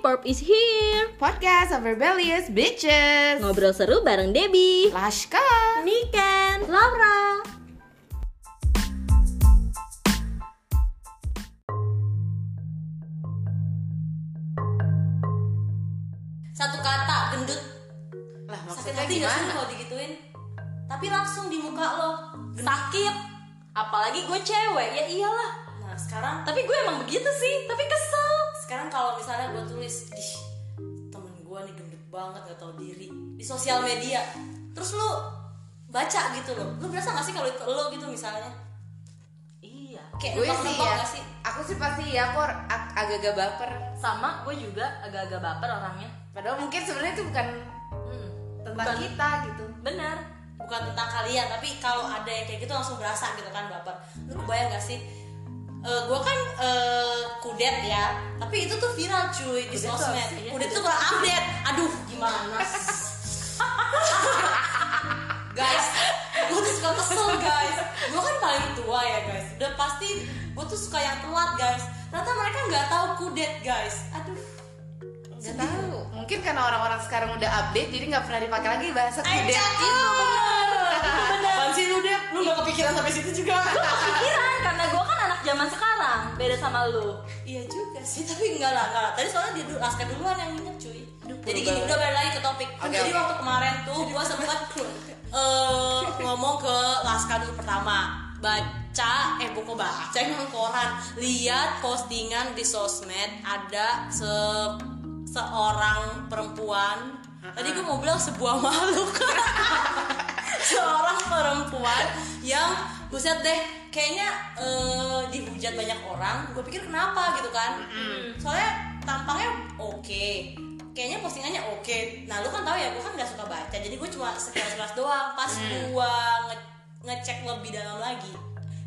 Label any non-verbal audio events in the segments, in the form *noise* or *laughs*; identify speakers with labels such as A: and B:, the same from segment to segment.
A: Pop is here
B: Podcast of Rebellious Bitches
A: Ngobrol seru bareng Debbie
B: Lashka
A: Niken Laura Satu kata gendut
B: Lah
A: Sakit
B: maksudnya
A: hati gak sih lu
B: gimana?
A: kalau digituin Tapi langsung di muka lo Sakit Apalagi gue cewek Ya iyalah Nah sekarang Tapi gue emang begitu sih Tapi kesel Sekarang kalau misalnya gue tulis Dih temen gue nih gendut banget gak tau diri Di sosial media Terus lu baca gitu loh Lu berasa gak sih kalau itu lo gitu misalnya
B: Iya
A: Kayak
B: Gue sih
A: nebak-nebak
B: ya
A: gak sih?
B: Aku sih pasti ya Aku ag- agak-agak baper
A: Sama gue juga agak-agak baper orangnya
B: Padahal mungkin sebenarnya itu bukan
A: Hmm.
B: tentang
A: Bukan.
B: kita gitu
A: benar bukan tentang kalian tapi kalau ada yang kayak gitu langsung berasa gitu kan baper lu kebayang gak sih gue kan eh, kudet ya tapi itu tuh viral cuy di
B: Kudet tuh
A: sosmed
B: apa sih ya?
A: kudet tuh kurang update aduh
B: *laughs*
A: gimana guys gue tuh suka kesel guys gue kan paling tua ya guys udah pasti gue tuh suka yang telat guys ternyata mereka nggak tahu kudet guys aduh
B: Gak tahu. Mungkin karena orang-orang sekarang udah update Jadi gak pernah dipakai lagi bahasa kudet
A: Ajak
B: itu
A: itu bener
B: Apaan sih lu Dep? Lu gak kepikiran sampai situ *laughs* juga
A: pikiran karena gue kan anak zaman sekarang beda sama lu iya juga sih tapi enggak lah enggak lah tadi soalnya dia dulu- Aska duluan yang minyak cuy jadi gini
B: banget.
A: udah balik lagi ke topik
B: Oke,
A: jadi
B: oke.
A: waktu kemarin tuh gue sempat *laughs* eh, ngomong ke Laska dulu pertama baca eh buku baca emang koran lihat postingan di sosmed ada se- seorang perempuan tadi gue mau bilang sebuah *laughs* makhluk *laughs* seorang perempuan yang buset deh kayaknya eh, dihujat banyak orang gue pikir kenapa gitu kan soalnya tampangnya oke kayaknya postingannya oke nah lu kan tahu ya gue kan nggak suka baca jadi gue cuma sekilas-sekilas doang pas gue nge- ngecek lebih dalam lagi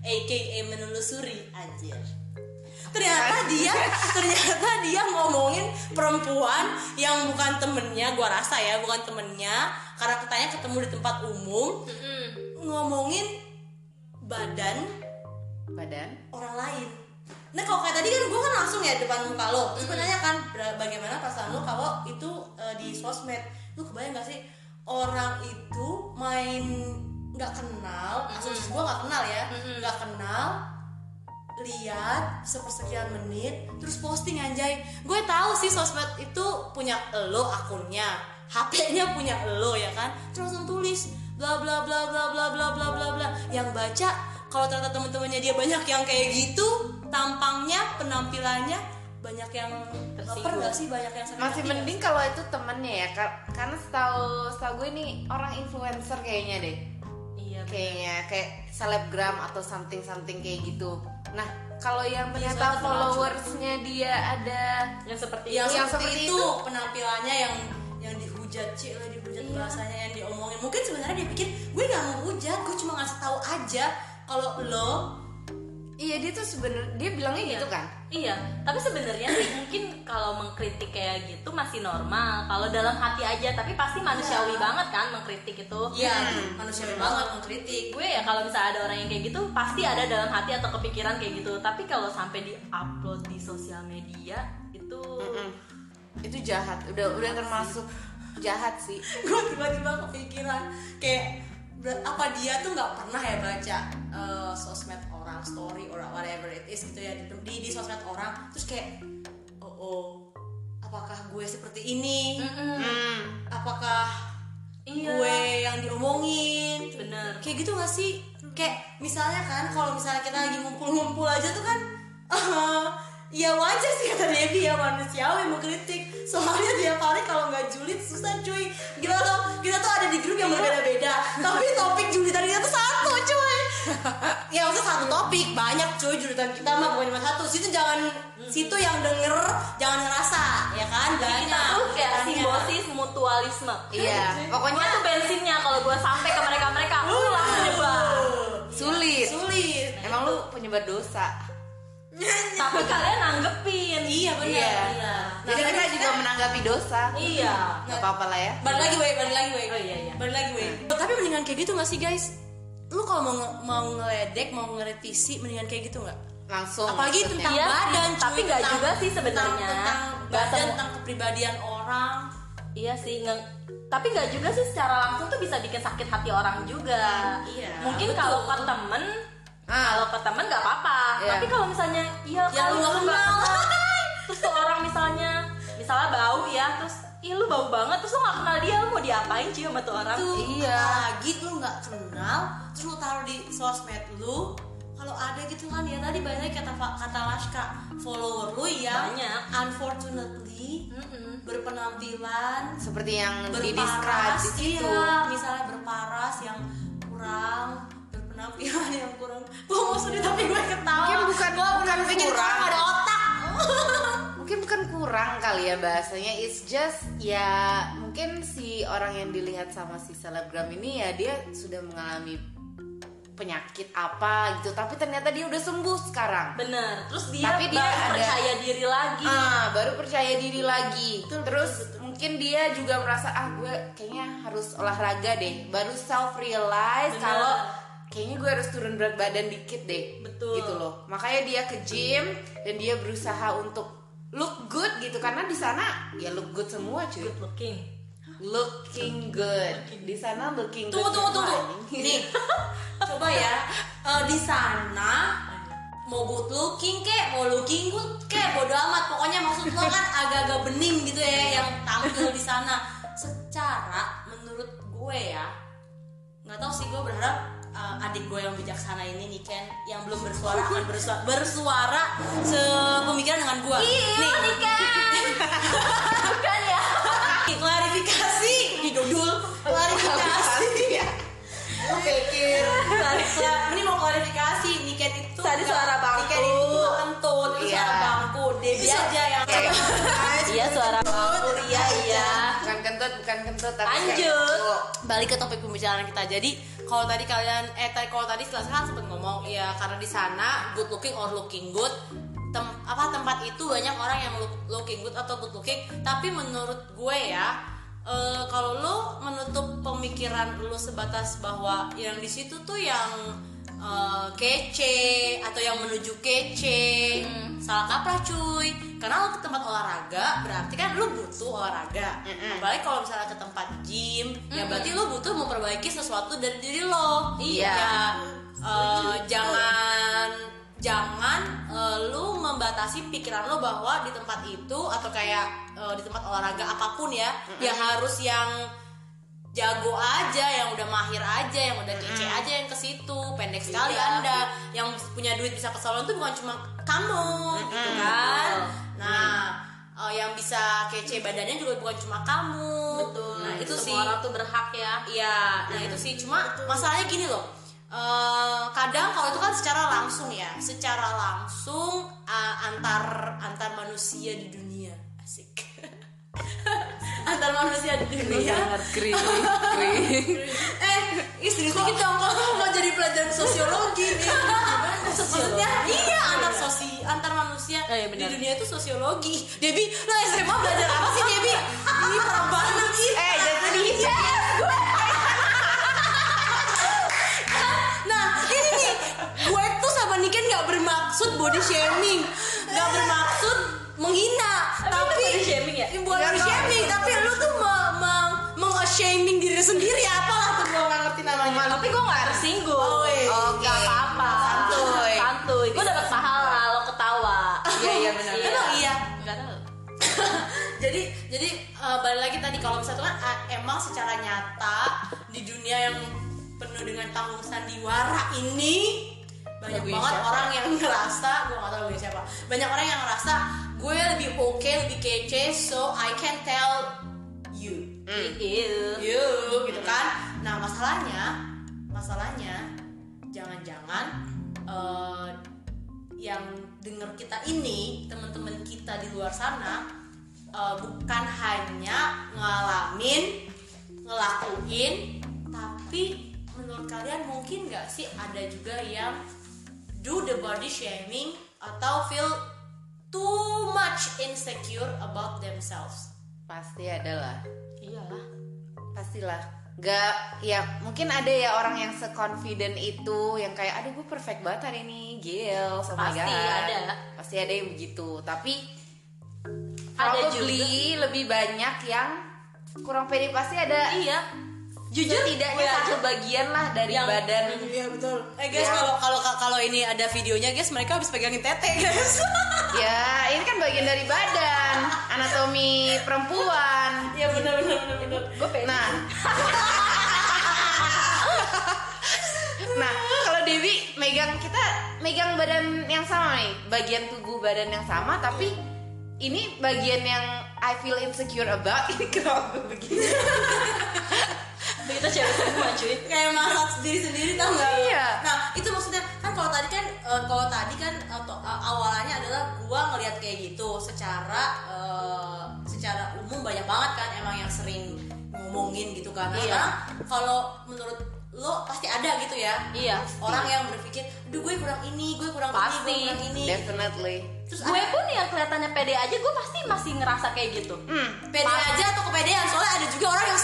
A: aka menelusuri anjir ternyata dia ternyata dia ngomongin perempuan yang bukan temennya gua rasa ya bukan temennya karena katanya ketemu di tempat umum ngomongin badan
B: Badan
A: orang lain nah kalau kayak tadi kan gua kan langsung ya depan muka lo terus gua nanya kan "Bra- bagaimana perasaan lo kalau itu eh, di sosmed lu kebayang gak sih orang itu main nggak kenal asumsi gua nggak kenal ya nggak kenal lihat sepersekian menit terus posting anjay gue tahu sih sosmed itu punya elo akunnya HP-nya punya elo ya kan terus langsung tulis bla bla bla bla bla bla bla bla bla yang baca kalau ternyata teman-temannya dia banyak yang kayak gitu tampangnya penampilannya banyak yang
B: Tersinggung.
A: baper gak sih banyak yang sakit
B: masih
A: hati nggak
B: mending kalau itu temennya ya kar- karena setahu setahu gue ini orang influencer kayaknya deh
A: Iya,
B: kayaknya kayak selebgram atau something something kayak gitu nah kalau yang
A: Iya,
B: ternyata
A: soalnya terkenal juga.
B: followersnya dia ada
C: yang seperti
A: yang,
B: Yang
A: Iya, seperti
B: seperti
A: itu,
B: itu.
A: penampilannya yang yang dihujat cik lah dihujat bahasanya yang diomongin mungkin sebenarnya dia pikir gue nggak mau hujat gue cuma ngasih tahu aja kalau lo
B: iya dia tuh sebenarnya dia bilangnya gitu kan
C: iya tapi sebenarnya sih mungkin kalau mengkritik kayak gitu masih normal kalau dalam hati aja tapi pasti manusiawi banget kan mengkritik itu
A: ya manusiawi banget mengkritik *laughs*
C: gue ya kalau misalnya ada orang yang kayak gitu pasti ada dalam hati atau kepikiran kayak gitu tapi kalau sampai di upload di sosial media itu
B: Mm. itu jahat udah udah termasuk jahat sih
A: gue tiba-tiba kepikiran kayak ber- apa dia tuh nggak pernah ya baca eh, sosmed orang story or whatever it is gitu ya di, di, di sosmed orang terus kayak oh, oh apakah gue seperti ini
B: hmm.
A: apakah
C: Iya.
A: gue yang diomongin
C: Bener.
A: kayak gitu gak sih kayak misalnya kan kalau misalnya kita lagi ngumpul-ngumpul aja tuh kan *laughs* eh, ya wajar sih kata Devi ya manusiawi mengkritik soalnya tiap hari kalau nggak julid susah cuy gila loh kita tuh ada di grup yang berbeda-beda tapi topik julitan kita tuh satu
C: *laughs*
A: cuy ya maksudnya satu topik banyak cuy julitan kita mah bukan cuma satu situ jangan
C: Hmm.
A: situ yang denger jangan ngerasa ya kan banyak
C: kita tuh kayak
A: Banyak.
C: simbosis mutualisme
B: iya
C: pokoknya
B: pokoknya
C: tuh bensinnya kalau gue sampai ke uh, mereka mereka lu lah menyebar
B: sulit
A: sulit
B: emang lu penyebar dosa
C: tapi kalian nanggepin
A: iya Nah, kan- benar
B: Iya.
A: benar.
B: jadi kita juga menanggapi dosa
C: iya
B: nggak apa-apa lah ya
A: balik lagi weh balik lagi weh
C: Oh, iya, iya.
A: balik lagi weh tapi mendingan kayak gitu gak sih guys lu kalau mau nge- mau ngeledek mau ngeretisi mendingan kayak gitu nggak
B: langsung
A: apalagi
B: maksudnya.
A: tentang
C: Iya sih,
A: badan cuy,
C: tapi nggak
A: tentang-
C: juga sih sebenarnya.
A: tentang- tentang badan
C: Bahasa-
A: tentang kepribadian orang
C: Iya sih, nge- tapi nggak juga sih secara langsung tuh bisa bikin sakit hati orang juga.
A: Iya,
C: Mungkin
A: betul.
C: kalau ke temen,
B: Ah.
C: kalau ke temen nggak apa-apa.
B: Iya.
C: Tapi kalau misalnya, iya
A: Yang
C: kali
A: Ya, lu nggak
C: nggak
A: kenal.
C: kenal. *laughs* terus tuh orang misalnya, misalnya bau ya, terus ih lu bau banget, terus lu nggak kenal dia, lu mau diapain sih sama tuh orang?
A: tuh
B: Iya.
A: lagi lu nggak kenal terus lu taruh di sosmed lu kalau ada gitu kan ya tadi banyak kata kata Laska follower lu yang
C: Banyak.
A: unfortunately
C: Mm-mm.
A: berpenampilan
B: seperti yang gitu. di describe
A: berparas
B: di situ.
A: iya misalnya berparas yang kurang berpenampilan yang kurang gue mau sedih tapi gue ketawa
B: Mungkin bukan-
A: gue
B: bukan
A: pikir
B: kurang.
A: kurang ada otak
B: Mungkin bukan kurang kali ya bahasanya, it's just ya mungkin si orang yang dilihat sama si selebgram ini ya dia sudah mengalami penyakit apa gitu, tapi ternyata dia udah sembuh sekarang.
C: Bener. Terus dia,
B: Tapi dia
C: baru
B: ada-
C: percaya diri lagi.
B: Ah, baru percaya diri lagi. Terus mungkin dia juga merasa ah gue kayaknya harus olahraga deh. Baru self realize
C: Bener.
B: kalau kayaknya gue harus turun berat badan dikit deh.
C: Betul.
B: Gitu loh. Makanya dia ke gym dan dia berusaha untuk look good gitu karena di sana ya look good semua cuy.
C: Good looking.
B: Looking good. Di sana looking
A: tunggu
B: good.
A: tunggu tunggu
B: semua, anjing.
A: nih coba ya Eh, di sana mau good looking kek mau looking good kek bodo amat pokoknya maksud lo kan agak-agak bening gitu ya yang tampil di sana secara menurut gue ya nggak tahu sih gue berharap eh, adik gue yang bijaksana ini nih Ken yang belum bersuara akan bersuara bersuara sepemikiran dengan gue
C: Iya,
A: *laughs*
C: Niken. Bukan ya?
A: nih klarifikasi
C: *laughs*
A: didodul klarifikasi
B: *laughs* Lu pikir
A: ini mau klarifikasi Niken itu
C: Tadi suara bangku.
A: Niken itu bukan kentut itu
B: Iya.
A: suara bangku Debbie aja yang
C: Iya suara bau. Iya iya.
B: bukan kentut, bukan kentut tapi kayak
C: Lanjut.
B: kentut.
A: balik ke topik pembicaraan kita jadi kalau tadi kalian eh tadi kalau tadi setelah kan sempat ngomong ya karena di sana good looking or looking good tem, apa tempat itu banyak orang yang look- looking good atau good looking tapi menurut gue ya eh, kalau lu menutup pemikiran lu sebatas bahwa yang di situ tuh yang eh, kece atau yang menuju kece salah kaprah cuy karena lu ke tempat olahraga berarti kan lu butuh olahraga
B: Mm-mm.
A: apalagi kalau misalnya ke tempat gym ya berarti lu butuh memperbaiki sesuatu dari diri lo
B: Iya.
A: Ya, eh, jangan jangan eh, lu membatasi pikiran lo bahwa di tempat itu atau kayak eh, di tempat olahraga apapun ya ya harus yang jago aja yang udah mahir aja yang udah kece aja yang ke situ pendek sekali
C: Iya.
A: anda yang punya duit bisa ke salon tuh bukan cuma kamu gitu kan
C: Betul. Mm.
A: nah eh, yang bisa kece badannya juga bukan cuma kamu
C: Betul.
A: nah itu
C: semua
A: sih
C: orang tuh berhak ya.
A: Iya, nah itu sih cuma masalahnya gini loh. eh, kadang kalau itu kan secara langsung ya, secara langsung eh, antar antar manusia di dunia asik. *laughs* antar manusia di dunia.
B: Kering, kering.
A: eh, istri dikit dong kalau mau jadi pelajaran sosiologi nih. Maksudnya iya antar sosi antar manusia
C: Eh, iya,
A: di
C: benar.
A: dunia itu sosiologi. Debi, lo SMA belajar apa sih Debi? Ini parah banget Iya. sih.
B: Eh, jangan sedih.
A: Nah ini nih Gue tuh sama Niken gak bermaksud body shaming Gak bermaksud menghina Tapi
C: itu body shaming ya?
A: Bukan
B: Nggak
A: body
B: tahu.
A: shaming Tapi lu tuh me- me- meng-shaming diri sendiri Apalah tuh gue gak ngerti namanya
C: Tapi gue gak tersinggung
A: Oh, iya.
B: Oke.
C: Gak apa-apa
B: Santuy.
C: Santuy Gue dapet pahala lo
A: *laughs*
C: ketawa
B: Iya, iya, benar.
A: Emang iya
C: Gak tau
A: *laughs* jadi jadi eh, balik lagi tadi kalau misalnya kan ah, emang secara nyata di dunia yang penuh dengan panggung sandiwara ini banyak
B: Lagunya
A: banget
B: siapa?
A: orang yang ngerasa gue gak tau lagunya siapa banyak orang yang ngerasa gue lebih oke lebih kece so I can tell you
C: Hmm. Iya.
A: you gitu kan nah masalahnya masalahnya jangan-jangan eh, yang denger kita ini teman-teman kita di luar sana eh, bukan hanya ngalamin ngelakuin tapi menurut kalian mungkin nggak sih ada juga yang do the body shaming atau feel too much insecure about themselves
B: Pasti ada lah.
C: Iyalah
B: pastilah Gak, ya mungkin ada ya orang yang se-confident itu Yang kayak, aduh gue perfect banget hari ini Gil, oh my
C: Pasti
B: God."
C: ada.
B: Pasti ada yang begitu Tapi
C: Ada
B: probably lebih banyak yang kurang pede pasti ada
C: Iya.
B: jujur tidaknya
A: iya.
B: satu bagian lah dari
C: Yang-
B: badan
A: Iya betul. Eh guys,
B: Ya.
A: kalau kalau kalau ini ada videonya guys, mereka habis pegangin tete
C: *laughs*
A: guys.
B: ya ini kan bagian dari badan anatomi perempuan
A: Iya benar benar benar benar.
C: Gue pengen.
B: nah *laughs* nah kalau Dewi megang kita megang badan yang sama nih bagian tubuh badan yang sama tapi ini bagian yang I feel insecure about *laughs* ini kenapa gue begini
C: Kita cewek semua cuy.
A: kayak masak sendiri sendiri tau nggak?
B: Iya.
A: Nah itu maksudnya kan kalau tadi kan eh, kalau tadi kan eh, to- eh, awalannya adalah gua ngelihat kayak gitu secara eh, secara umum banyak banget kan emang yang sering ngomongin gitu kan. Nah,
C: Iya.
A: sekarang kalau menurut lo pasti ada gitu ya
C: Iya.
A: orang yang berpikir, aduh gue kurang ini, gue kurang
C: Pasti.
A: ini, gue kurang ini.
B: definitely
A: Terus
C: Gue pun yang kelihatannya pede aja, gue pasti masih ngerasa kayak gitu.
B: hmm
A: pede
C: Pasti.
A: aja atau kepedean soalnya ada juga orang yang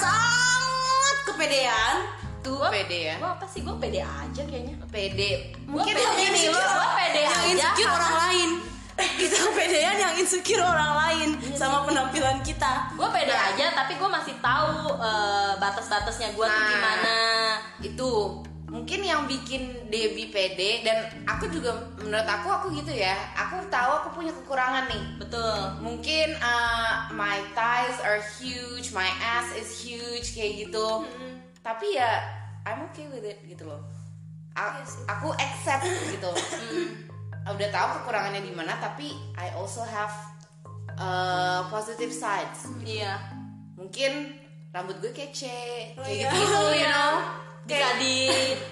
A: sangat kepedean
B: tuh
C: Gua-
B: pede ya
C: Gue apa sih? Gue pede aja kayaknya.
B: pede
C: Gua
B: mungkin
C: pede
B: gini
C: insecure.
B: lo
C: Gua pede
A: yang
C: aja,
A: insecure
C: karena-
A: orang
C: *laughs*
A: lain kita kepedean yang insecure orang lain sama penampilan kita
C: Gue Iya pede aja, tapi gue masih tahu eh, batas-batasnya gue tuh
B: Nah.
C: gimana.
B: itu mungkin yang bikin Debbie pede dan aku juga menurut aku aku gitu ya aku tahu aku punya kekurangan nih
C: Betul.
B: mungkin uh, my thighs are huge my ass is huge kayak gitu tapi ya I'm okay with it gitu loh
A: Iya
B: A-
A: sih. Mm.
B: aku accept
A: *laughs*
B: gitu udah tahu kekurangannya di mana tapi I also have uh, positive sides
C: Iya.
B: mungkin rambut gue kece
A: Oh, iya.
B: kayak gitu you know
C: Bisa di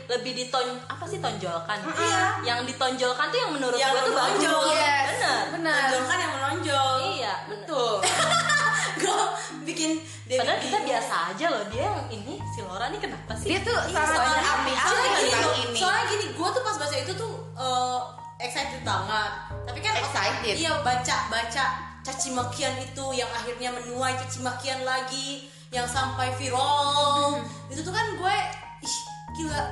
C: lebih diton apa sih tonjolkan?
A: Iya.
C: Yang ditonjolkan tuh yang menurut
A: Yang
C: gue tuh bagus.
A: menonjol.
B: Yes.
C: Bener.
B: benar
A: menonjol kan yang menonjol
C: Iya, betul.
B: tuh
A: gue bikin Debbie
C: Padahal kita
A: bingung.
C: biasa aja loh dia yang ini si Laura nih kenapa sih?
B: dia tuh
A: Iya,
B: sangat
A: soalnya
B: berapi-api
A: soalnya gini,
B: tentang
A: loh,
B: ini
A: soalnya gini gue tuh pas baca itu tuh eh, excited banget tapi kan
B: Excited.
A: iya baca baca caci makian itu yang akhirnya menuai caci makian lagi yang sampai
B: *laughs*
A: viral itu tuh kan gue ih gila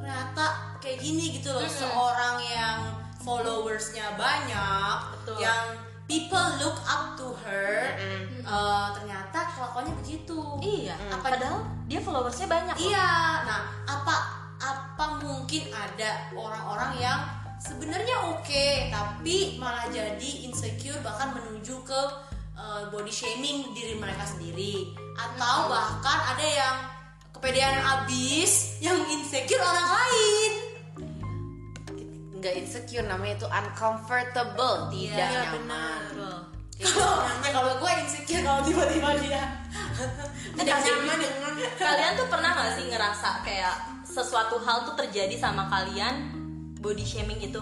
A: ternyata kayak gini gitu loh seorang yang followersnya banyak
C: Betul.
A: yang people look up to her
B: Mm-mm.
A: eh, ternyata kelakuannya begitu
C: Iya.
A: Apa-
C: Padahal dia followersnya banyak. loh.
A: Iya. Nah, apa apa mungkin ada orang-orang yang sebenarnya oke tapi malah jadi insecure bahkan menuju ke eh, body shaming diri mereka sendiri atau
D: Hmm.
A: bahkan ada yang kepedean abis yang insecure orang lain.
B: nggak insecure namanya itu uncomfortable tidak
A: Iya,
B: nyaman
C: Betul.
D: Iya.
A: Kalau ya kalau gue insecure kalau tiba-tiba
D: *laughs*
A: dia tidak nyaman ya. dengan
C: Kalian tuh pernah gak sih ngerasa kayak sesuatu hal tuh terjadi sama kalian body shaming itu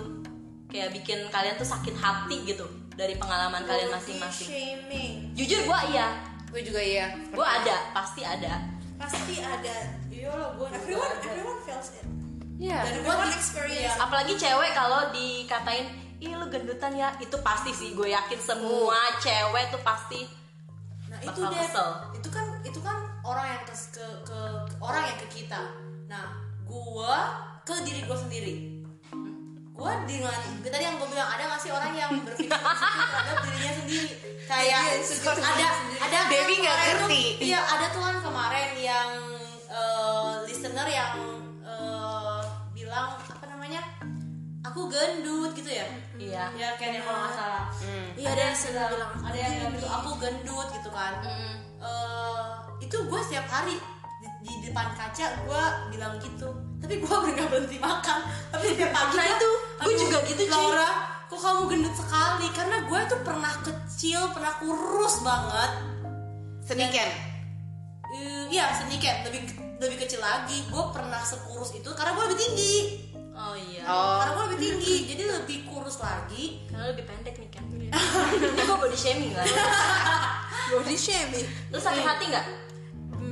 C: kayak bikin kalian tuh sakit hati gitu dari pengalaman kalian masing-masing.
A: shaming.
C: Jujur gua iya,
B: gue juga iya
C: gua ada, pasti ada.
D: pasti ada
A: Iya
D: iyalah gue everyone everyone feels it
B: iya
A: Dan gue
D: everyone experience
A: Nah,
C: Apalagi cewek kalau dikatain, "Ih, lu gendutan ya." Itu pasti sih gue yakin semua cewek tuh pasti
A: Nah
C: Bakal
A: itu deh,
C: kesel.
A: itu kan itu kan orang yang kes- ke, ke, ke orang yang ke kita. Nah, gua ke diri gua sendiri. Gua dengan tadi yang gua bilang ada nggak sih orang yang berpikir insecure terhadap dirinya sendiri? Kayak ada ada kan
B: Dewi nggak
A: kemarin
B: ngerti.
A: tuh- Iya ada tuh kan kemarin yang eh, listener yang eh, bilang apa namanya? Aku gendut gitu ya?
C: iya.
A: Ya kayaknya kalau nggak salah.
C: Hmm.
A: Iya ada yang selalu bilang ada yang bilang gitu, aku gendut gitu kan.
C: Mm,
A: Eh, itu gue setiap hari di, di depan kaca gue bilang gitu tapi gue *laughs* nggak berhenti makan tapi setiap pagi
C: Nah, itu, gua
A: "Aduh,
C: juga gitu, cuy."
A: Laura kok kamu gendut sekali karena gue tuh pernah kecil pernah kurus banget
B: seniken
A: Eh, iya sedikit lebih lebih kecil lagi gue pernah sekurus itu karena gue lebih tinggi
C: Oh iya.
A: karena
B: oh
A: gue lebih tinggi jadi lebih kurus lagi
C: Karena lebih pendek nih kan. Ini gue body shaming lah.
D: body shaming
C: Lu sakit hati nggak?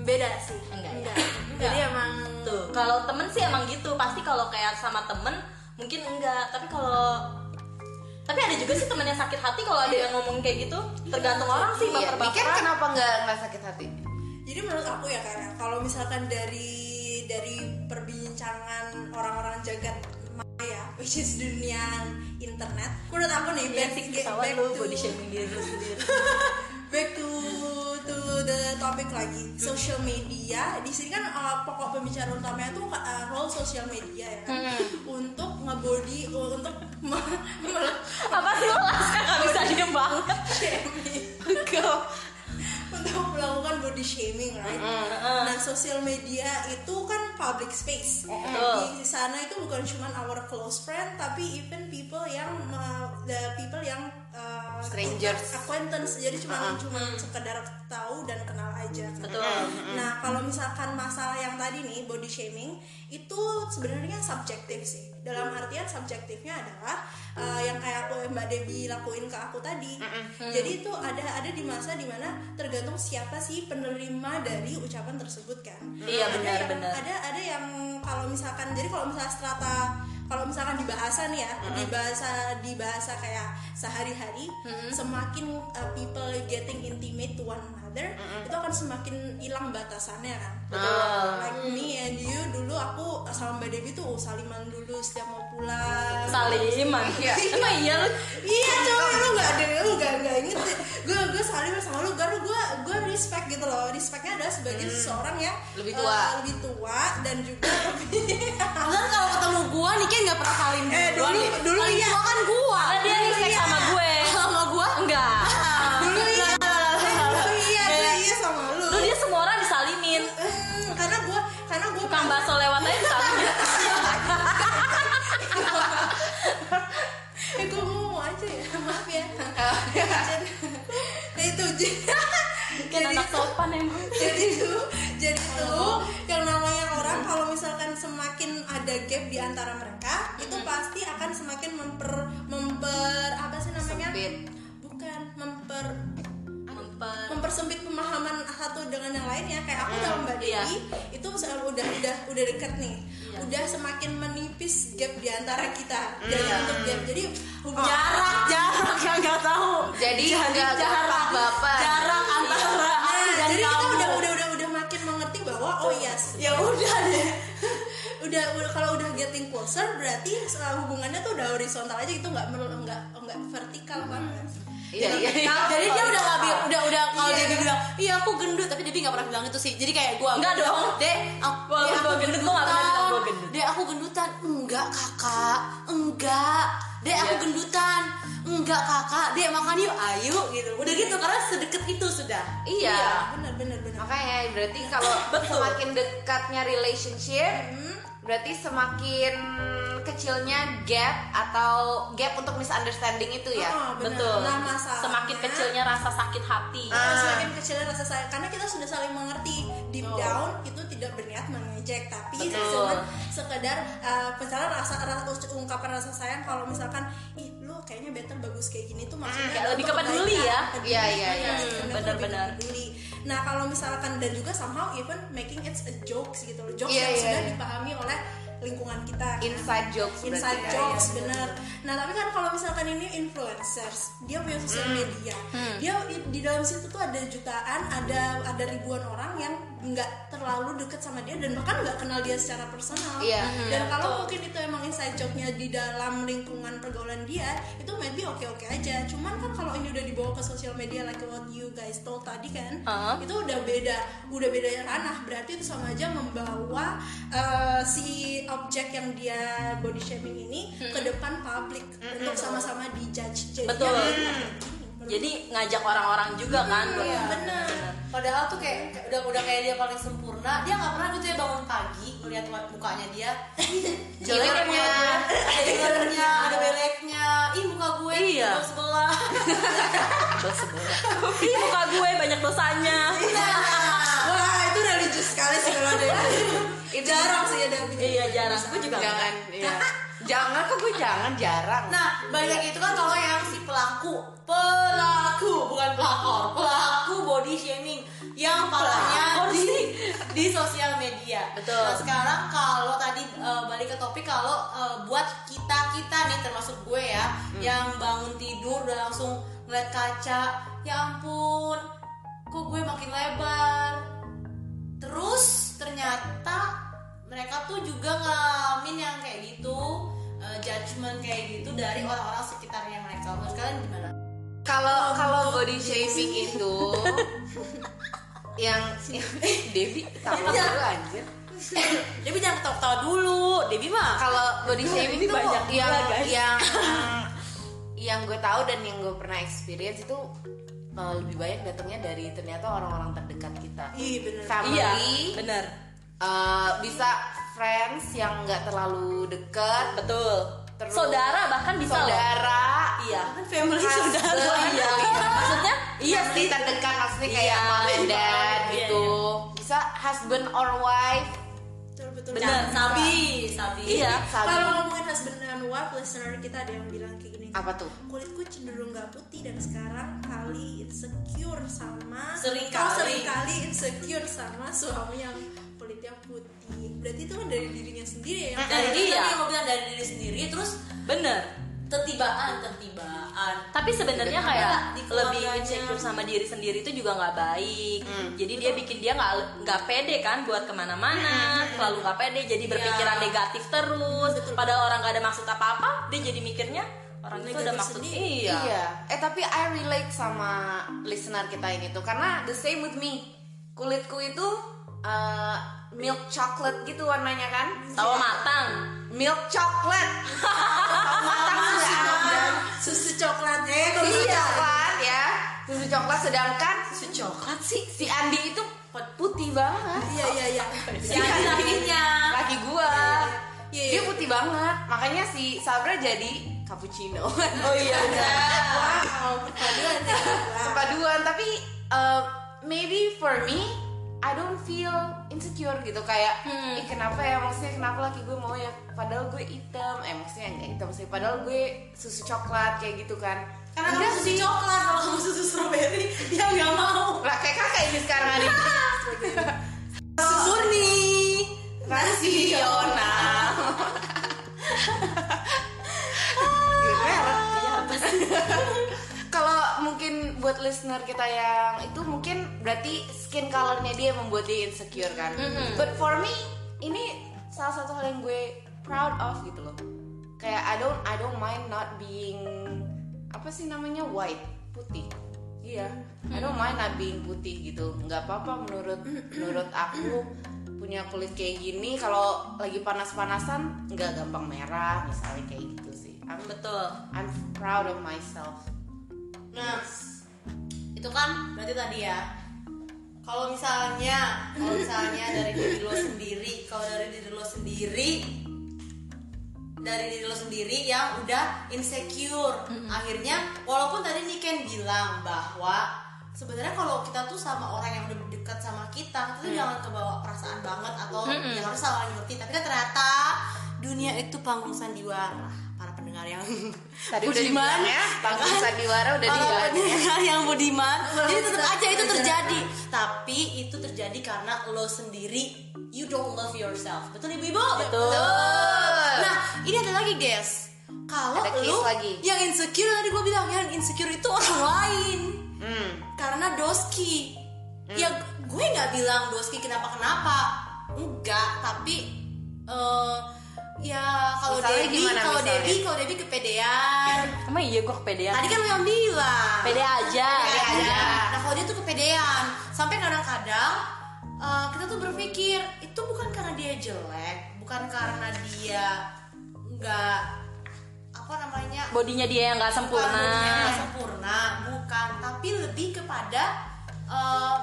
D: beda sih
C: Enggak ya?
D: enggak jadi emang
C: Tuh, kalau temen sih emang gitu. Pasti kalau kayak sama temen mungkin enggak. Tapi kalau tapi ada juga sih temen yang sakit hati kalau ada yang ngomong kayak gitu. Tergantung orang sih
B: iya Niken
C: baper-baperan.
B: kenapa nggak nggak sakit hati
D: jadi menurut aku ya karena kalau misalkan dari dari perbincangan orang-orang jagat maya
A: which is dunia internet menurut aku nih
E: Iya
A: back,
E: sih,
A: get
E: pesawat
A: back
E: lu
A: to-
E: body shaming diri lu sendiri
A: back to to the topic lagi social media di sini kan uh, pokok pembicaraan utamanya tuh uh, role social media ya kan untuk ngebody untuk me- *laughs* me-
E: Apa sih lo Alaska gak bisa diem banget
A: untuk melakukan body shaming right nah social media itu kan public space
E: Betul.
A: di sana itu bukan cuma our close friend tapi even people yang uh, the people yang uh,
B: Strangers.
A: acquaintance jadi cuma cuma sekedar tahu dan kenal aja
E: Betul.
A: nah kalau misalkan masalah yang tadi nih body shaming itu sebenarnya subjektif sih dalam artian subjektifnya adalah uh, yang kayak aku mbak Debbie lakuin ke aku tadi jadi itu ada ada di masa dimana tergantung siapa sih penerima dari ucapan tersebut kan
E: Iya,
A: Ada
E: benar,
A: yang-
E: benar.
A: ada ada yang kalau misalkan jadi kalau misalnya strata kalau misalkan di bahasa nih ya di bahasa di bahasa kayak sehari-hari semakin uh, people getting intimate to one another itu akan semakin hilang batasannya kan like me and you dulu aku sama mbak Devi tuh oh, saliman dulu setiap mau pulang
E: Saliman Emang iya lu
A: iya coba lu gak ada lu gak gak inget gue gue salim sama lu karena gue gue respect gitu loh respectnya adalah sebagai seseorang yang
B: Lebih tua.
A: eh, lebih tua dan juga *laughs* lebih
E: Kan
C: Kalian kalau ketemu gua nih kan nggak pernah salin
A: Eh,
C: duluan
A: dulu-
C: ya.
A: dulu
C: Paling
A: iya.
C: tua kan gua.
E: Karena dia respect iya. sama gue
C: Sama gua
E: Enggak
A: dulu iya dulu iya dulu iya sama lu
E: Lu dia semua orang disalimin
A: Hmm, karena gue karena gue
E: Tukang bakso lewat aja
A: Iya,
E: disalimin
A: eh gue mau aja ya maaf ya Jadi- nah itu jadi
E: Kan
A: iya.
E: anak sopan emang
A: jadi tuh jadi tuh yang namanya orang kalau misalkan semakin ada gap di antara mereka itu pasti akan semakin memper memper apa sih namanya
B: Sempit.
A: bukan memper
E: Memper
A: mempersempit pemahaman satu dengan yang lainnya kayak aku dalam mbak
E: Iya.
A: Dewi itu se- udah udah udah deket nih
C: Iya.
A: udah semakin menipis gap di antara kita
C: Hmm.
A: jadi untuk gap jadi ya,
C: Oh,
A: hubungan
C: jarak jarak yang nggak tahu.
B: Jadi nggak
C: jarak
B: baper-baper.
C: Jarak antara aku
A: Nah,
C: dan
A: jadi kita
C: kamu.
A: udah udah udah udah makin mengerti bahwa oh yes
C: Ya udah deh.
A: *laughs* udah udah kalau udah getting closer berarti uh, hubungannya tuh udah horizontal aja gitu nggak perlu nggak nggak vertikal
C: Hmm.
A: banget
B: Iya, iya, iya.
C: Nah,
B: *laughs*
C: jadi dia udah nggak bi- udah udah kalau
A: Iya.
C: dia bilang iya aku gendut tapi jadi nggak pernah bilang itu sih jadi kayak gue
E: Nggak dong.
B: Iya.
C: dek
E: Wah,
C: aku, Dek,
E: gua
C: iya, aku
E: gendut, gua nggak pernah bilang gua gendut.
C: dek aku gendutan enggak kakak enggak dek aku
E: Iya.
C: gendutan enggak kakak dek makan yuk ayo gitu udah gitu karena sedekat itu sudah
B: Iya.
A: bener bener bener
B: Makanya berarti kalau
E: Betul.
B: semakin dekatnya relationship, berarti semakin kecilnya gap atau gap untuk misunderstanding itu ya.
C: Iya.
A: Oh,
C: Ah,
A: bener.
E: Betul
A: nah Ah, masalah
E: Semakin kecilnya rasa sakit hati
C: Ah.
A: semakin kecilnya rasa saya karena kita sudah saling mengerti deep down itu tidak berniat mengejek tapi
E: Betul.
A: cuma sekedar uh, misalnya rasa, rasa ungkapan rasa sayang kalau misalkan ih lu kayaknya better bagus kayak gini tuh maksudnya
E: kayak
A: adalah
E: lebih
A: untuk
E: ke peduli
A: kebaikan.
E: ya.
A: Peduli.
B: Iya, iya, iya.
A: Nah, sebenarnya tuh
E: benar-benar.
A: lebih ke peduli nah kalau misalkan dan juga somehow even making it a jokes gitu loh jokes
B: Iya,
A: yang
B: iya,
A: sudah
B: iya.
A: dipahami oleh lingkungan kita kan?
B: Inside jokes berarti
A: inside
B: kan,
A: jokes
B: ya.
A: bener nah tapi kan kalau misalkan ini influencers dia punya sosial
B: Hmm.
A: media dia di- di dalam situ tuh ada jutaan ada ada ribuan orang yang nggak terlalu deket sama dia dan bahkan nggak kenal dia secara personal
B: Iya.
A: dan kalau mungkin itu emang inside joke-nya di dalam lingkungan pergaulan dia itu maybe oke oke aja cuman kan kalau ini udah dibawa ke sosial media like what you guys told tadi kan
E: Uh-huh.
A: itu udah beda udah beda ranah berarti itu sama aja membawa uh, si objek yang dia body shaming ini ke depan publik untuk sama-sama dijudge Jadinya
E: Betul.
A: kan, "Ih,
E: Jadi ngajak orang-orang juga kan buat-
A: Hmm, Iya. bener
C: padahal tuh kayak udah udah kayak dia paling sempurna dia nggak pernah gitu ya bangun pagi melihat mukanya
E: *laughs*
C: dia
E: Jelek ya
B: Jeleknya.
E: mulut gue.
C: Jeleknya, ada beleknya ih muka gue
E: Iya.
C: tuh sebelah
E: Ih, muka gue banyak dosanya
C: Iya.
E: *laughs*
A: wah itu religius sekali sih kalau ada ya. itu jarang sih ada
E: Iya jarang Gue juga
B: Jangan, iya. jangan kok gue jangan jarang.
C: Nah, banyak itu kan kalau yang si pelaku, pelaku bukan pelakor, pelaku body shaming yang palanya
E: Pelakor
C: di di sosial media.
E: Betul.
C: Nah, sekarang kalau tadi eh, balik ke topik kalau eh, buat kita kita nih termasuk gue ya,
A: Hmm.
C: yang bangun tidur udah langsung ngeliat kaca, ya ampun, kok gue makin lebar, Terus ternyata mereka tuh juga ngalamin yang kayak gitu eh,
A: judgement
C: judgement
A: kayak gitu dari orang-orang sekitarnya mereka menurut kalian gimana
B: Kalau kalau body shaming itu yang, yang Devi tahu dulu anjir.
A: Debbie jangan ketawa-ketawa dulu Debbie mah
B: Kalau body shaming
A: ini
B: itu
A: banyak
B: yang
A: gula, guys.
B: yang yang gue tahu dan yang gue pernah experience itu eh, lebih banyak datangnya dari ternyata orang-orang terdekat kita.
D: Iya bener.
B: Family,
A: iya bener
B: eh, bisa friends yang nggak terlalu dekat,
C: betul
B: Terus-
C: saudara bahkan bisa loh.
B: saudara,
C: iya
A: kan family saudara
B: husband,
C: iya maksudnya iya sih
B: kita dekat maksudnya kayak
C: Iya,
B: mom and
C: iya,
B: dad
A: iya,
B: gitu bisa husband or wife
D: Betul betul.
C: benar sabi sabi iya
B: sabi.
D: Kalau ngomongin husband and wife, listener kita ada yang bilang kayak gini.
B: apa tuh
D: kulitku cenderung gak putih dan sekarang kali insecure sama
A: Sering
D: kau
A: kali.
D: sering kali insecure sama suami yang kulitnya putih berarti itu kan dari dirinya sendiri ya
A: dari
C: Iya.
A: diri tadi yang mau bilang dari diri sendiri terus
C: bener
A: tertibaan tertibaan
C: tapi sebenarnya kayak
A: Di keluarganya.
C: lebih insecure sama diri sendiri itu juga nggak baik jadi dia bikin dia nggak nggak pede kan buat kemana-mana selalu nggak pede jadi berpikiran
A: Iya.
C: negatif terus padahal orang nggak ada maksud apa-apa dia jadi mikirnya orang itu ada
D: Negatif
C: maksud
D: sendiri.
C: iya
B: eh tapi I relate sama listener kita ini tuh karena the same with me kulitku itu eh, milk chocolate gitu warnanya kan
C: tawa matang
B: milk chocolate Tahu matang nggak ada
D: susu coklat eh kalau
B: susu
D: iya.
B: coklat ya susu coklat sedangkan
A: si coklat
B: si si Andi itu putih banget
D: iya iya iya
A: si Andi lakinya
B: laki gua
D: Iya,
B: dia
D: iya.
B: putih banget makanya si Sabra jadi cappuccino *laughs*
A: oh iya
D: wow perpaduan ya Wah.
B: kepaduan tapi uh, maybe for me I don't feel insecure gitu kayak ih kenapa ya maksudnya kenapa laki gue mau ya padahal gue hitam eh maksudnya enggak hitam sih padahal gue susu coklat kayak gitu kan
A: karena
B: Udah
A: kamu susu
B: sih.
A: coklat kalau kamu susu strawberry dia nggak mau
B: lah kayak kakak ini sekarang ada
A: susu nih
B: rasional kalau mungkin buat listener kita yang itu mungkin berarti skin colornya dia yang membuat dia insecure kan but for me ini salah satu hal yang gue proud of gitu loh kayak I don't I don't mind not being apa sih namanya white putih iya I don't mind not being putih gitu nggak apa-apa menurut menurut aku punya kulit kayak gini kalau lagi panas-panasan nggak gampang merah misalnya kayak gitu sih I'm,
C: betul
B: I'm proud of myself
A: Nah, itu kan berarti tadi ya. Kalau misalnya, kalau misalnya dari diri lo sendiri, kalau dari diri lo sendiri, dari diri lo sendiri yang udah insecure, akhirnya walaupun tadi Niken bilang bahwa sebenarnya kalau kita tuh sama orang yang udah dekat sama kita, kita
B: Mm.
A: tuh jangan kebawa perasaan banget atau yang harus salah ngerti. Tapi kan ternyata dunia itu panggung sandiwara para pendengar yang
B: tadi udah dibilang ya panggung sandiwara udah
A: Kalau
B: dibilang ya.
A: pendengar *laughs* yang budiman jadi tetap aja itu terjadi tapi itu terjadi karena lo sendiri you don't love yourself betul ibu-ibu betul nah ini ada lagi guys kalau
B: Ada case
A: lo
B: lagi.
A: yang insecure tadi gue bilang yang insecure itu orang lain
B: hmm.
A: karena doski ya gue nggak bilang doski kenapa kenapa enggak tapi eh, ya kalau
B: Misalnya
A: Debbie
B: gimana,
A: kalau
B: misalnya? Ya.
A: Debbie kalau Debbie kepedean
C: emang iya gue kepedean
A: tadi kan lo yang bilang
C: pede aja
A: Pede
B: Pede
A: aja.
B: aja.
A: Nah kalau dia tuh kepedean, sampai kadang-kadang eh, kita tuh berpikir itu bukan karena dia jelek, bukan karena dia nggak apa namanya
C: bodinya dia yang nggak
A: bukan
C: sempurna
A: dia nggak sempurna, bukan, tapi lebih kepada eh,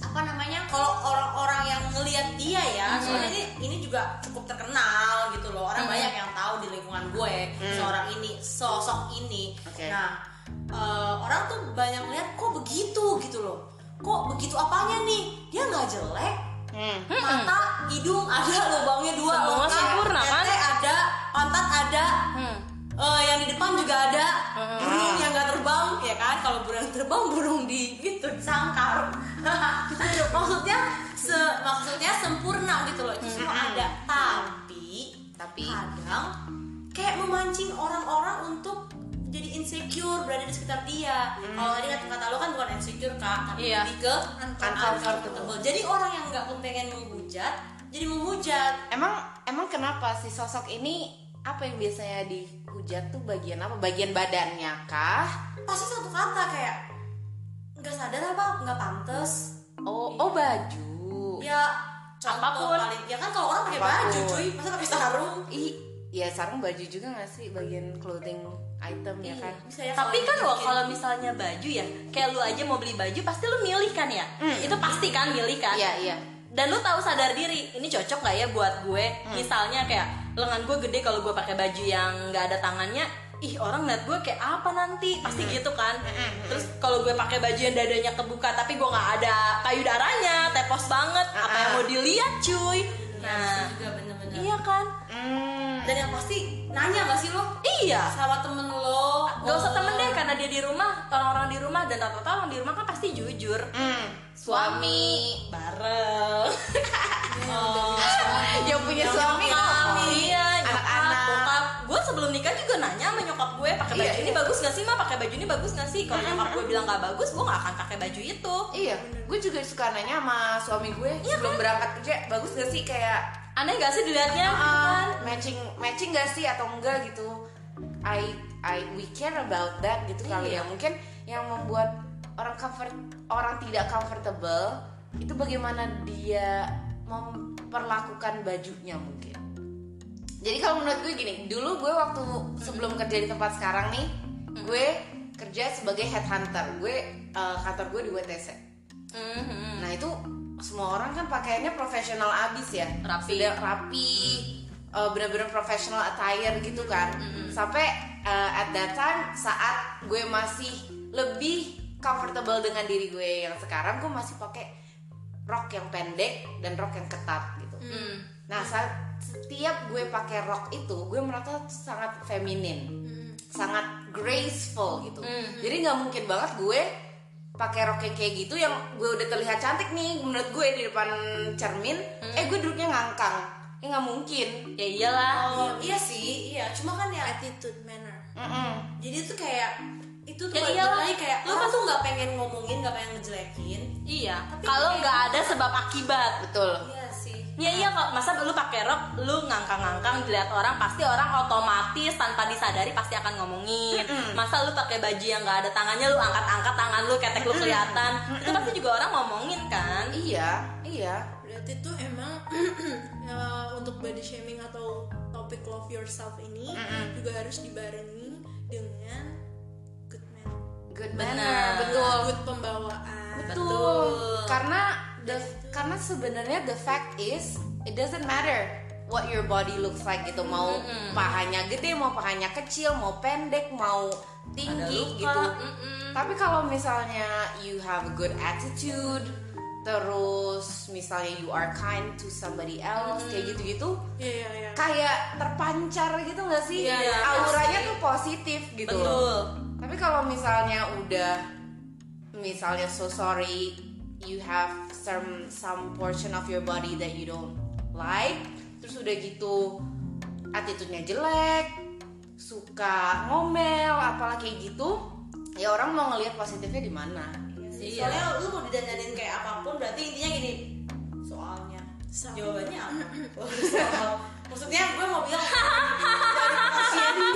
A: apa namanya kalau orang-orang yang ngelihat dia ya soalnya ini ini juga cukup terkenal gitu loh orang banyak yang tahu di lingkungan gue
C: Mm.
A: seorang ini sosok ini
B: Oke.
A: nah eh, orang tuh banyak lihat kok begitu gitu loh kok begitu apanya nih dia nggak jelek
B: Hmm.
A: mata hidung ada lubangnya dua
C: Semua
A: lengkap.
C: sempurna, kan?
A: Tete ada pantat ada
C: Hmm.
A: Eh, yang di depan juga ada burung yang nggak terbang ya kan kalau burung yang terbang burung di gitu sangkar *laughs* maksudnya se- maksudnya sempurna gitu loh itu semua ada tapi
B: tapi
A: kadang kayak memancing orang-orang untuk jadi insecure berada di sekitar dia kalau tadi kata kata lo kan bukan insecure kak tapi
C: Iya.
A: lebih ke
B: Kan Uncomfortable.
A: jadi orang yang nggak pengen menghujat jadi menghujat
B: emang emang kenapa si sosok ini apa yang biasanya dihujat tuh bagian apa? Bagian badannya kah?
A: pasti satu kata kayak nggak sadar apa nggak pantas
B: Oh, oh baju.
A: ya contoh
C: Apapun.
A: paling ya kan kalau orang pakai
B: Apapun.
A: baju cuy masa pakai sarung
B: Ih, ya sarung baju juga gak sih bagian clothing item ya kan?
A: Bisa ya
C: tapi kan loh
A: dibikin.
C: kalau misalnya baju ya kayak lu aja mau beli baju pasti lu milih kan ya
A: Hmm.
C: itu pasti kan milih kan
B: Iya, iya.
C: dan lu tahu sadar diri ini cocok nggak ya buat gue
A: Hmm.
C: misalnya kayak lengan gue gede kalau gue pakai baju yang nggak ada tangannya ih orang ngeliat gue kayak apa nanti pasti
A: Hmm.
C: gitu kan terus kalau gue pakai baju yang dadanya kebuka tapi gue nggak ada payudaranya tepos banget
A: Hmm,
C: apa yang mau dilihat
A: Iya
C: cuy nah
A: juga bener-bener
C: iya kan
B: Hmm.
A: dan yang pasti nanya gak sih lo
C: iya
A: sama temen lo Oh.
C: Gak usah temen deh karena dia di rumah orang-orang di rumah dan rata-rata orang di rumah kan pasti jujur
B: Hmm.
C: suami bareng
B: Yang punya suami,
C: iya
B: Anak-anak.
C: anak-anak gue sebelum nikah juga nanya sama nyokap gue pakai baju
B: Iya,
C: ini bagus gak sih ma pakai baju ini bagus gak sih kalau nyokap gue bilang gak bagus gue gak akan pakai baju itu
B: Iya, gue juga suka nanya sama suami gue sebelum berangkat kerja, bagus gak sih kayak
C: aneh gak sih dilihatnya Kan?
B: "Ah, matching matching gak sih atau enggak gitu? I I we care about that gitu kali ya. Mungkin yang membuat orang comfort orang tidak comfortable itu bagaimana dia memperlakukan bajunya mungkin. Jadi kalau menurut gue gini, dulu gue waktu sebelum kerja di tempat sekarang nih, gue kerja sebagai headhunter. Gue eh, kantor gue di WTC.
C: Mhm.
B: Nah itu semua orang kan pakaiannya profesional abis ya,
C: Rapi.
B: Sudah rapi, eh, bener-bener professional attire gitu kan.
C: Hmm.
B: Sampai eh, at that time saat gue masih lebih comfortable dengan diri gue yang sekarang, gue masih pakai rok yang pendek dan rok yang ketat gitu.
C: Hmm.
B: Nah saat setiap gue pakai rok itu, gue merasa sangat
C: Hmm.
B: feminin, sangat graceful gitu. Jadi nggak mungkin banget gue pakai rok yang kayak gitu yang gue udah terlihat cantik nih menurut gue di depan cermin,
C: Hmm.
B: eh gue duduknya ngangkang, ya nggak mungkin.
C: ya iyalah
A: oh iya sih iya cuma kan ya
D: attitude manner
B: Mm-mm.
A: jadi tuh kayak itu tuh
C: Ya
A: balik
C: iyalah.
A: lagi kayak
C: Lo
A: lo kan
C: kan-
A: tuh nggak pengen ngomongin nggak pengen ngejelekin
C: iya kalau nggak ada sebab akibat
B: Betul.
A: iya sih
C: Ya iya kok, masa lu pakai rok, lu ngangkang-ngangkang dilihat orang, pasti orang otomatis tanpa disadari pasti akan ngomongin. Masa lu pakai baju yang nggak ada tangannya, lu angkat-angkat tangan lu, ketek lu kelihatan, itu pasti juga orang ngomongin kan.
B: Iya, iya.
D: berarti tuh emang *clears throat* eh, untuk body shaming atau topik love yourself ini juga harus dibarengi dengan good man
B: Good
C: Benar.
A: Nah,
B: manner, betul.
D: good pembawaan
B: Betul. Karena the karena sebenarnya the fact is it doesn't matter what your body looks like gitu. Mau pahanya gede, mau pahanya kecil, mau pendek, mau tinggi
C: Ada
B: gitu.
C: luka, mm-mm.
B: Tapi kalau misalnya you have a good attitude, terus misalnya you are kind to somebody else
C: Hmm.
B: kayak gitu-gitu
D: iya iya iya
B: kayak terpancar gitu nggak sih?
C: Iya, iya,
B: Auranya tuh positif gitu.
C: Betul.
B: Tapi kalau misalnya udah misalnya so sorry you have some some portion of your body that you don't like, terus udah gitu attitude-nya jelek, suka ngomel, apalah kayak gitu, ya orang mau ngelihat positifnya di mana?
A: Iya. Soalnya lu mau didandanin kayak apapun berarti intinya gini soalnya
D: Soal.
A: jawabannya *clears throat* apa? Oh, Soal. Maksudnya gue mau *laughs* bilang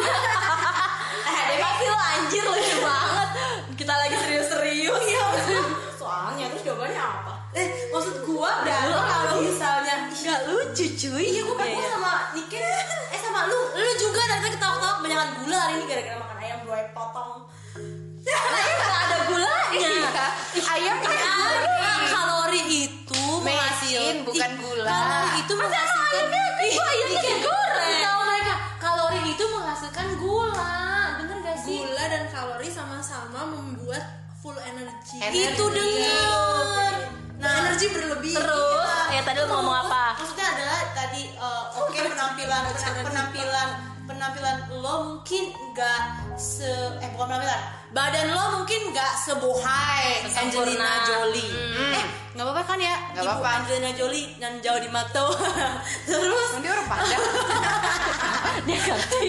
C: Eh, dia pasti lu anjir lucu banget. Kita lagi serius-serius.
A: Iya, soalnya terus jawabannya apa? Eh maksud gue dan lo kalau misalnya
C: Gak lucu cuy.
A: iya gue pengen sama Niken eh sama lu lu juga dari tadi ketawa-ketawa kebanyakan gula hari ini gara-gara makan ayam gue *laughs* potong. iya,
C: Gak ada gulanya.
B: Ayam kan
C: Iya. Ada.
B: gurih.
A: Kalori itu
B: Mecin,
A: menghasilkan
B: bukan gula.
A: Kalori itu menghasilkan Ih, iya,
C: ayamnya
A: Niken,
C: digoreng.
A: tahu mereka kalori itu menghasilkan gula bener gak sih?
D: gula dan kalori sama-sama membuat full energi
B: Energi.
A: itu Iya, denger
D: nah energi berlebih Iya.
C: Terus, ya tadi lu ngomong apa?
A: iya. maksudnya adalah tadi eh, oke penampilan penampilan penampilan lo mungkin nggak se eh bukan penampilan badan lo mungkin nggak sebohai
C: Sesempurna.
A: Angelina Jolie
C: Hmm.
A: eh nggak apa-apa kan ya
B: Nggak
A: Ibu
B: apa-apa.
A: Angelina Jolie dan jauh di mata *laughs* terus
B: Kan Dia orang
A: *laughs*
B: Padang.
C: Dia ganti.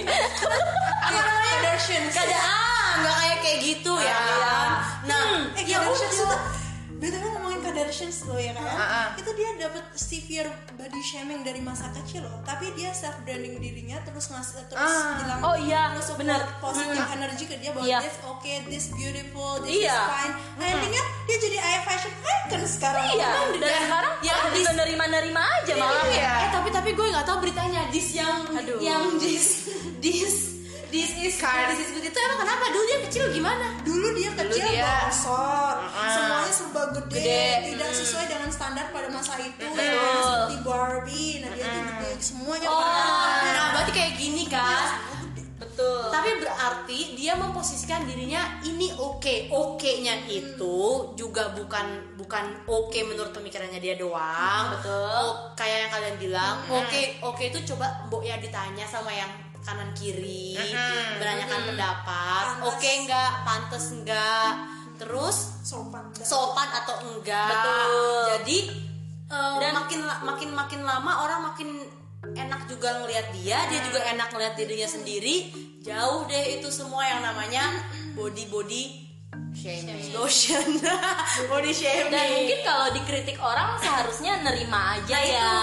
A: Kardashian keadaan nggak kayak kayak gitu ya
B: Ah.
A: kan nah
D: eh
A: ya
D: ya
A: udah
D: BTW ngomongin Kardashians loh ya kan
B: Ah, ah.
D: itu dia dapat severe body shaming dari masa kecil loh tapi dia self branding dirinya terus ngas terus
B: Ah.
D: bilang
C: Oh, iya.
D: terus support
C: Bener.
D: Nah, positive
C: Hmm.
D: energy ke dia bahwa
C: Iya.
D: this okay this beautiful this
C: Iya.
D: is fine
A: Hmm.
D: nah, intinya dia jadi eye fashion icon sekarang
C: Iya,
A: Kan
D: Emang
C: dan sekarang ya itu nerima-nerima aja malah.
B: Iya.
A: Eh tapi tapi gue nggak tahu beritanya. Dis yang
C: Aduh.
A: yang dis dis dis is
B: Kar-
A: this is good itu emang kenapa dulu dia kecil gimana?
D: dulu dia kecil
B: dia-
D: bongsor
A: Hmm.
D: semuanya serba gede,
C: Gede,
D: tidak sesuai dengan standar pada masa itu
C: Betul.
D: seperti Barbie nah dia tuh gede semuanya
A: Hmm. Oh,
D: warna.
A: nah berarti kayak gini kan?
C: Betul.
A: Tapi berarti dia memposisikan dirinya ini oke. Oke-nya itu juga bukan bukan oke menurut pemikirannya dia doang.
C: Betul.
A: O- kayak yang kalian bilang, oke oke itu coba Mbok ya ditanya sama yang kanan kiri, menanyakan pendapat.
D: Pantes.
A: Oke enggak, pantas enggak. Terus
D: sopan banget.
A: sopan atau enggak.
C: Betul.
A: Jadi dan
C: Dan-
A: makin la- makin makin lama orang makin enak juga ngelihat dia, dia juga
C: Hmm.
A: enak ngelihat dirinya sendiri. Jauh deh itu semua yang namanya
C: Hmm.
A: body body
B: Shaming.
A: lotion, body shaming.
C: *laughs* Dan mungkin kalau dikritik orang seharusnya nerima aja
A: Nah,
C: ya.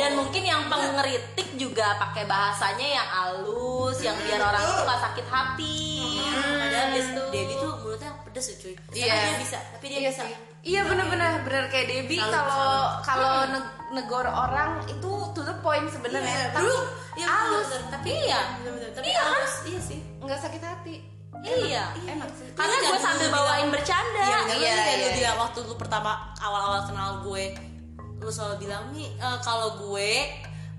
C: Dan mungkin yang pengeritik juga pakai bahasanya yang halus, yang biar
A: Hmm.
C: orang itu nggak sakit hati. Padahal itu
A: Debbie tuh mulutnya pedes cuy. Tapi
B: Iya.
A: dia bisa, tapi dia
B: Iya
A: bisa.
B: sih. Iya benar-benar benar kayak Debbie
A: Selalu- Hmm.
B: kalau kalau neg- negor orang itu to the point sebenarnya.
A: Iya,
B: Tapi
A: bro. Iya,
B: halus.
A: bener-bener.
C: tapi iya.
A: Bener-bener. Tapi
C: Iya.
A: halus, iya sih.
B: nggak sakit hati.
C: Iya.
B: Enak sih.
C: Karena
A: Iya,
C: gue
A: jangan
C: sambil
A: dulu
C: bawain
A: bilang.
C: bercanda.
A: Iya,
B: Iya,
A: iya, kayak
B: iya,
A: lu bilang waktu lu pertama awal-awal kenal gue, lu selalu bilang nih eh, kalau gue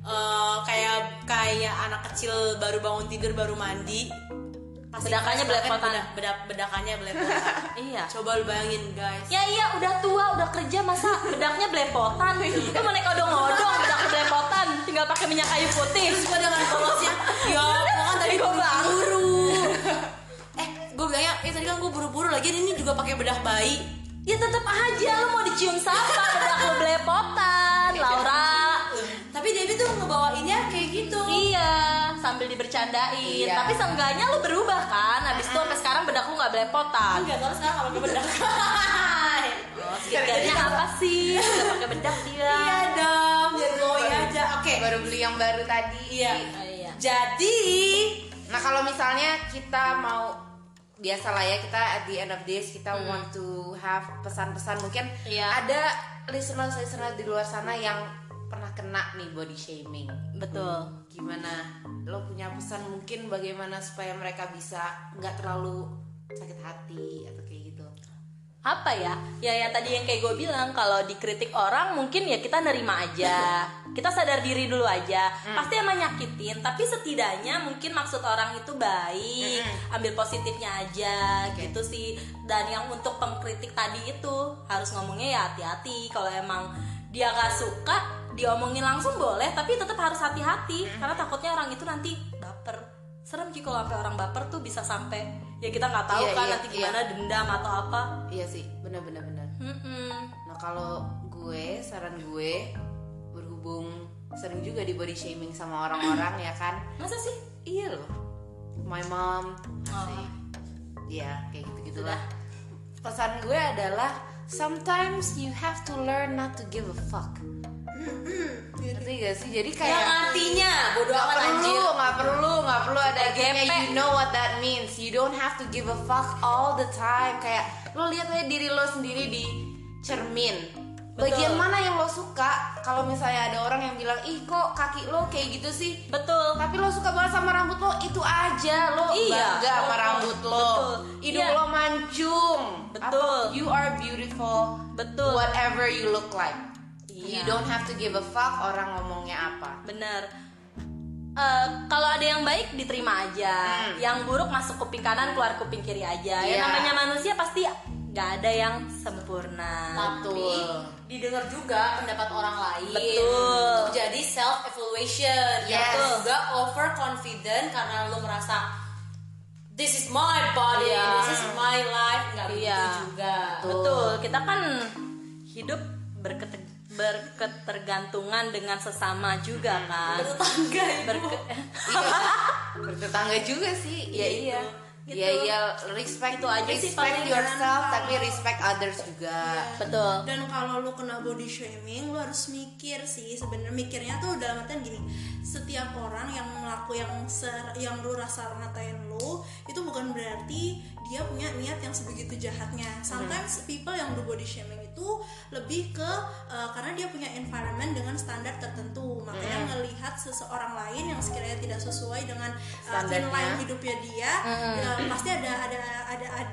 A: eh, kayak kayak anak kecil baru bangun tidur baru mandi, pasti
C: Bedakannya
A: keras banget
C: belepotan.
A: beda- beda- bedakannya belepotan.
C: *laughs* Iya.
A: Coba lu bayangin guys.
C: Ya iya udah tua udah kerja masa bedaknya
A: *laughs*
C: belepotan
A: Iya.
C: Lu mau naik odong-odong bedak belepotan Tinggal pakai minyak kayu putih
A: Terus gue dengan polosnya,
C: *laughs*
A: ya gua kan tadi gue buru. eh, gue bilangnya, eh tadi kan gue buru-buru lagi, ini juga pakai bedak bayi.
C: Ya tetap aja lu mau dicium *laughs* sapa bedak lu belepotan Laura
A: Tapi Debbie tuh ngebawainnya kayak gitu.
C: Iya sambil dibercandain
B: Iya.
C: Tapi seenggaknya lu berubah kan Abis itu sampai sekarang bedak lu gak
A: Ah.
C: belepotan
A: Enggak, kalau sekarang kalau gue bedak.
C: *laughs* Oh, Skincare-nya apa sih? Udah pakai bedak dia
A: Iya dong, jadi boy aja. Oke.
B: Baru beli yang baru tadi.
A: Iya.
C: Oh, iya.
A: Jadi
B: Nah kalau misalnya kita mau biasalah ya kita at the end of this kita want to have pesan-pesan mungkin
C: Hmm. Iya.
B: ada listener-listener di luar sana yang pernah kena nih body shaming.
C: Betul
B: Gimana lo punya pesan mungkin bagaimana supaya mereka bisa nggak terlalu sakit hati atau kayak gitu?
C: apa ya ya ya tadi yang kayak gue bilang kalau dikritik orang mungkin ya kita nerima
B: *laughs*
C: aja kita sadar diri dulu aja
B: Hmm.
C: pasti emang nyakitin tapi setidaknya mungkin maksud orang itu baik
B: Hmm,
C: ambil positifnya aja gitu sih dan yang untuk pengkritik tadi itu harus ngomongnya ya hati-hati kalau emang dia gak suka diomongin langsung boleh tapi tetap harus hati-hati
B: Hmm.
C: karena takutnya orang itu nanti baper serem sih kalau sampai orang baper tuh bisa sampai ya kita nggak tahu
B: Iya,
C: kan
B: iya,
C: nanti
B: iya.
C: gimana dendam atau apa
B: Iya sih, benar-benar benar.
C: Mm-mm.
B: Nah kalau gue saran gue berhubung sering juga di body shaming sama orang-orang ya kan?
C: Masa sih?
B: Iya loh. My mom. Asik. Ya, kayak gitu-gitu lah. Pesan gue adalah sometimes you have to learn not to give a fuck. Ngerti gak sih? Jadi kayak
C: Yang artinya bodo
B: Gak
C: amat
B: perlu,
C: anjir.
B: gak perlu, gak perlu ada
C: Gepe.
B: gapnya You know what that means You don't have to give a fuck all the time Kayak lo lihat aja diri lo sendiri di cermin Bagian mana yang lo suka Kalau misalnya ada orang yang bilang Ih kok kaki lo kayak gitu sih
C: Betul.
B: Tapi lo suka banget sama rambut lo Itu aja lo
C: Iya.
B: bangga sama rambut lo
C: Betul.
B: Hidung
C: Iya.
B: lo mancung
C: Betul.
B: Atau You are beautiful
C: Betul.
B: Whatever you look like You
C: Iya.
B: don't have to give a fuck orang ngomongnya apa
C: Bener. Eh, kalau ada yang baik diterima aja,
A: Hmm.
C: yang buruk masuk kuping kanan keluar kuping kiri aja. Yang
B: Iya.
C: namanya manusia pasti gak ada yang sempurna.
A: tapi didengar juga pendapat orang lain.
C: Betul.
A: Untuk jadi self evaluation.
B: Yes.
A: Betul. Gak over confident karena lu merasa this is my body,
C: Iya.
A: this is my life, nggak
C: Iya.
A: begitu juga.
C: Betul. Kita kan hidup berkete- berketergantungan dengan sesama juga kan.
A: Tetangga itu.
C: *laughs* Berke-
B: bertetangga Iya. juga sih
C: ya iya
A: Gitu.
B: Iya iya respect
C: Itu aja
B: respect
C: sih paling Iya.
B: yourself
A: jangan
B: tapi respect others juga.
C: Betul.
A: Dan kalau lu kena body shaming, lu harus mikir sih sebenarnya mikirnya tuh dalam artian gini, setiap orang yang melaku yang ser, yang lu rasa ngatain lu itu bukan berarti dia punya niat yang sebegitu jahatnya. Sometimes people yang do body shaming itu lebih ke uh, karena dia punya environment dengan standar tertentu, makanya ngelihat seseorang lain yang sekiranya tidak sesuai dengan uh,
B: Standarnya.
A: inline
C: Iya.
A: hidupnya dia, ya, pasti ada ada ada ada,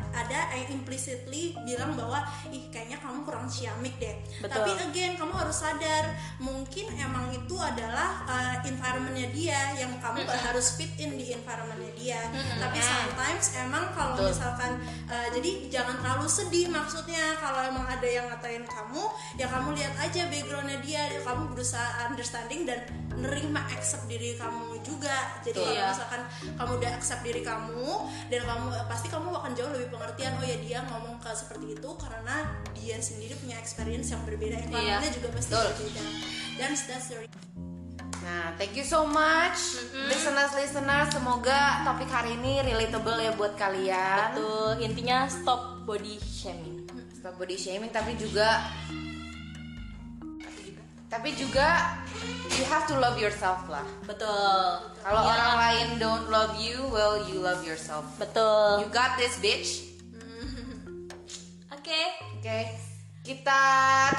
A: ada yang implicitly bilang bahwa ih kayaknya kamu kurang ciamik deh.
C: Betul.
A: Tapi again kamu harus sadar mungkin emang itu adalah uh, environmentnya dia yang kamu nggak harus fit in di environmentnya dia. Tapi
C: Nah.
A: sometimes emang kalau misalkan uh, jadi jangan terlalu sedih maksudnya kalau emang ada yang ngatain kamu ya kamu lihat aja backgroundnya dia, kamu berusaha understanding dan nerima accept diri kamu juga. Jadi
C: Betul.
A: kalau
C: Iya.
A: misalkan kamu udah accept diri kamu dan kamu pasti kamu akan jauh lebih pengertian oh ya dia ngomong ke seperti itu karena dia sendiri punya experience yang berbeda environmentnya juga pasti berbeda dan that's the re-
B: Nah, thank you so much listeners listeners. Semoga topik hari ini relatable ya buat kalian.
C: Betul. Intinya stop body shaming.
B: Stop body shaming tapi juga tapi juga you have to love yourself lah.
C: Betul.
B: Kalau orang lain don't love you, well you love yourself. You
C: Betul.
B: got this bitch.
C: Oke.
B: Oke. Kita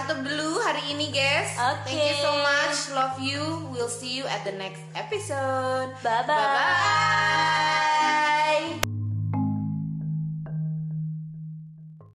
B: tutup dulu hari ini, guys.
C: Oke.
B: Thank you so much. Love you. We'll see you at the next episode.
C: Bye-bye.
B: Bye-bye.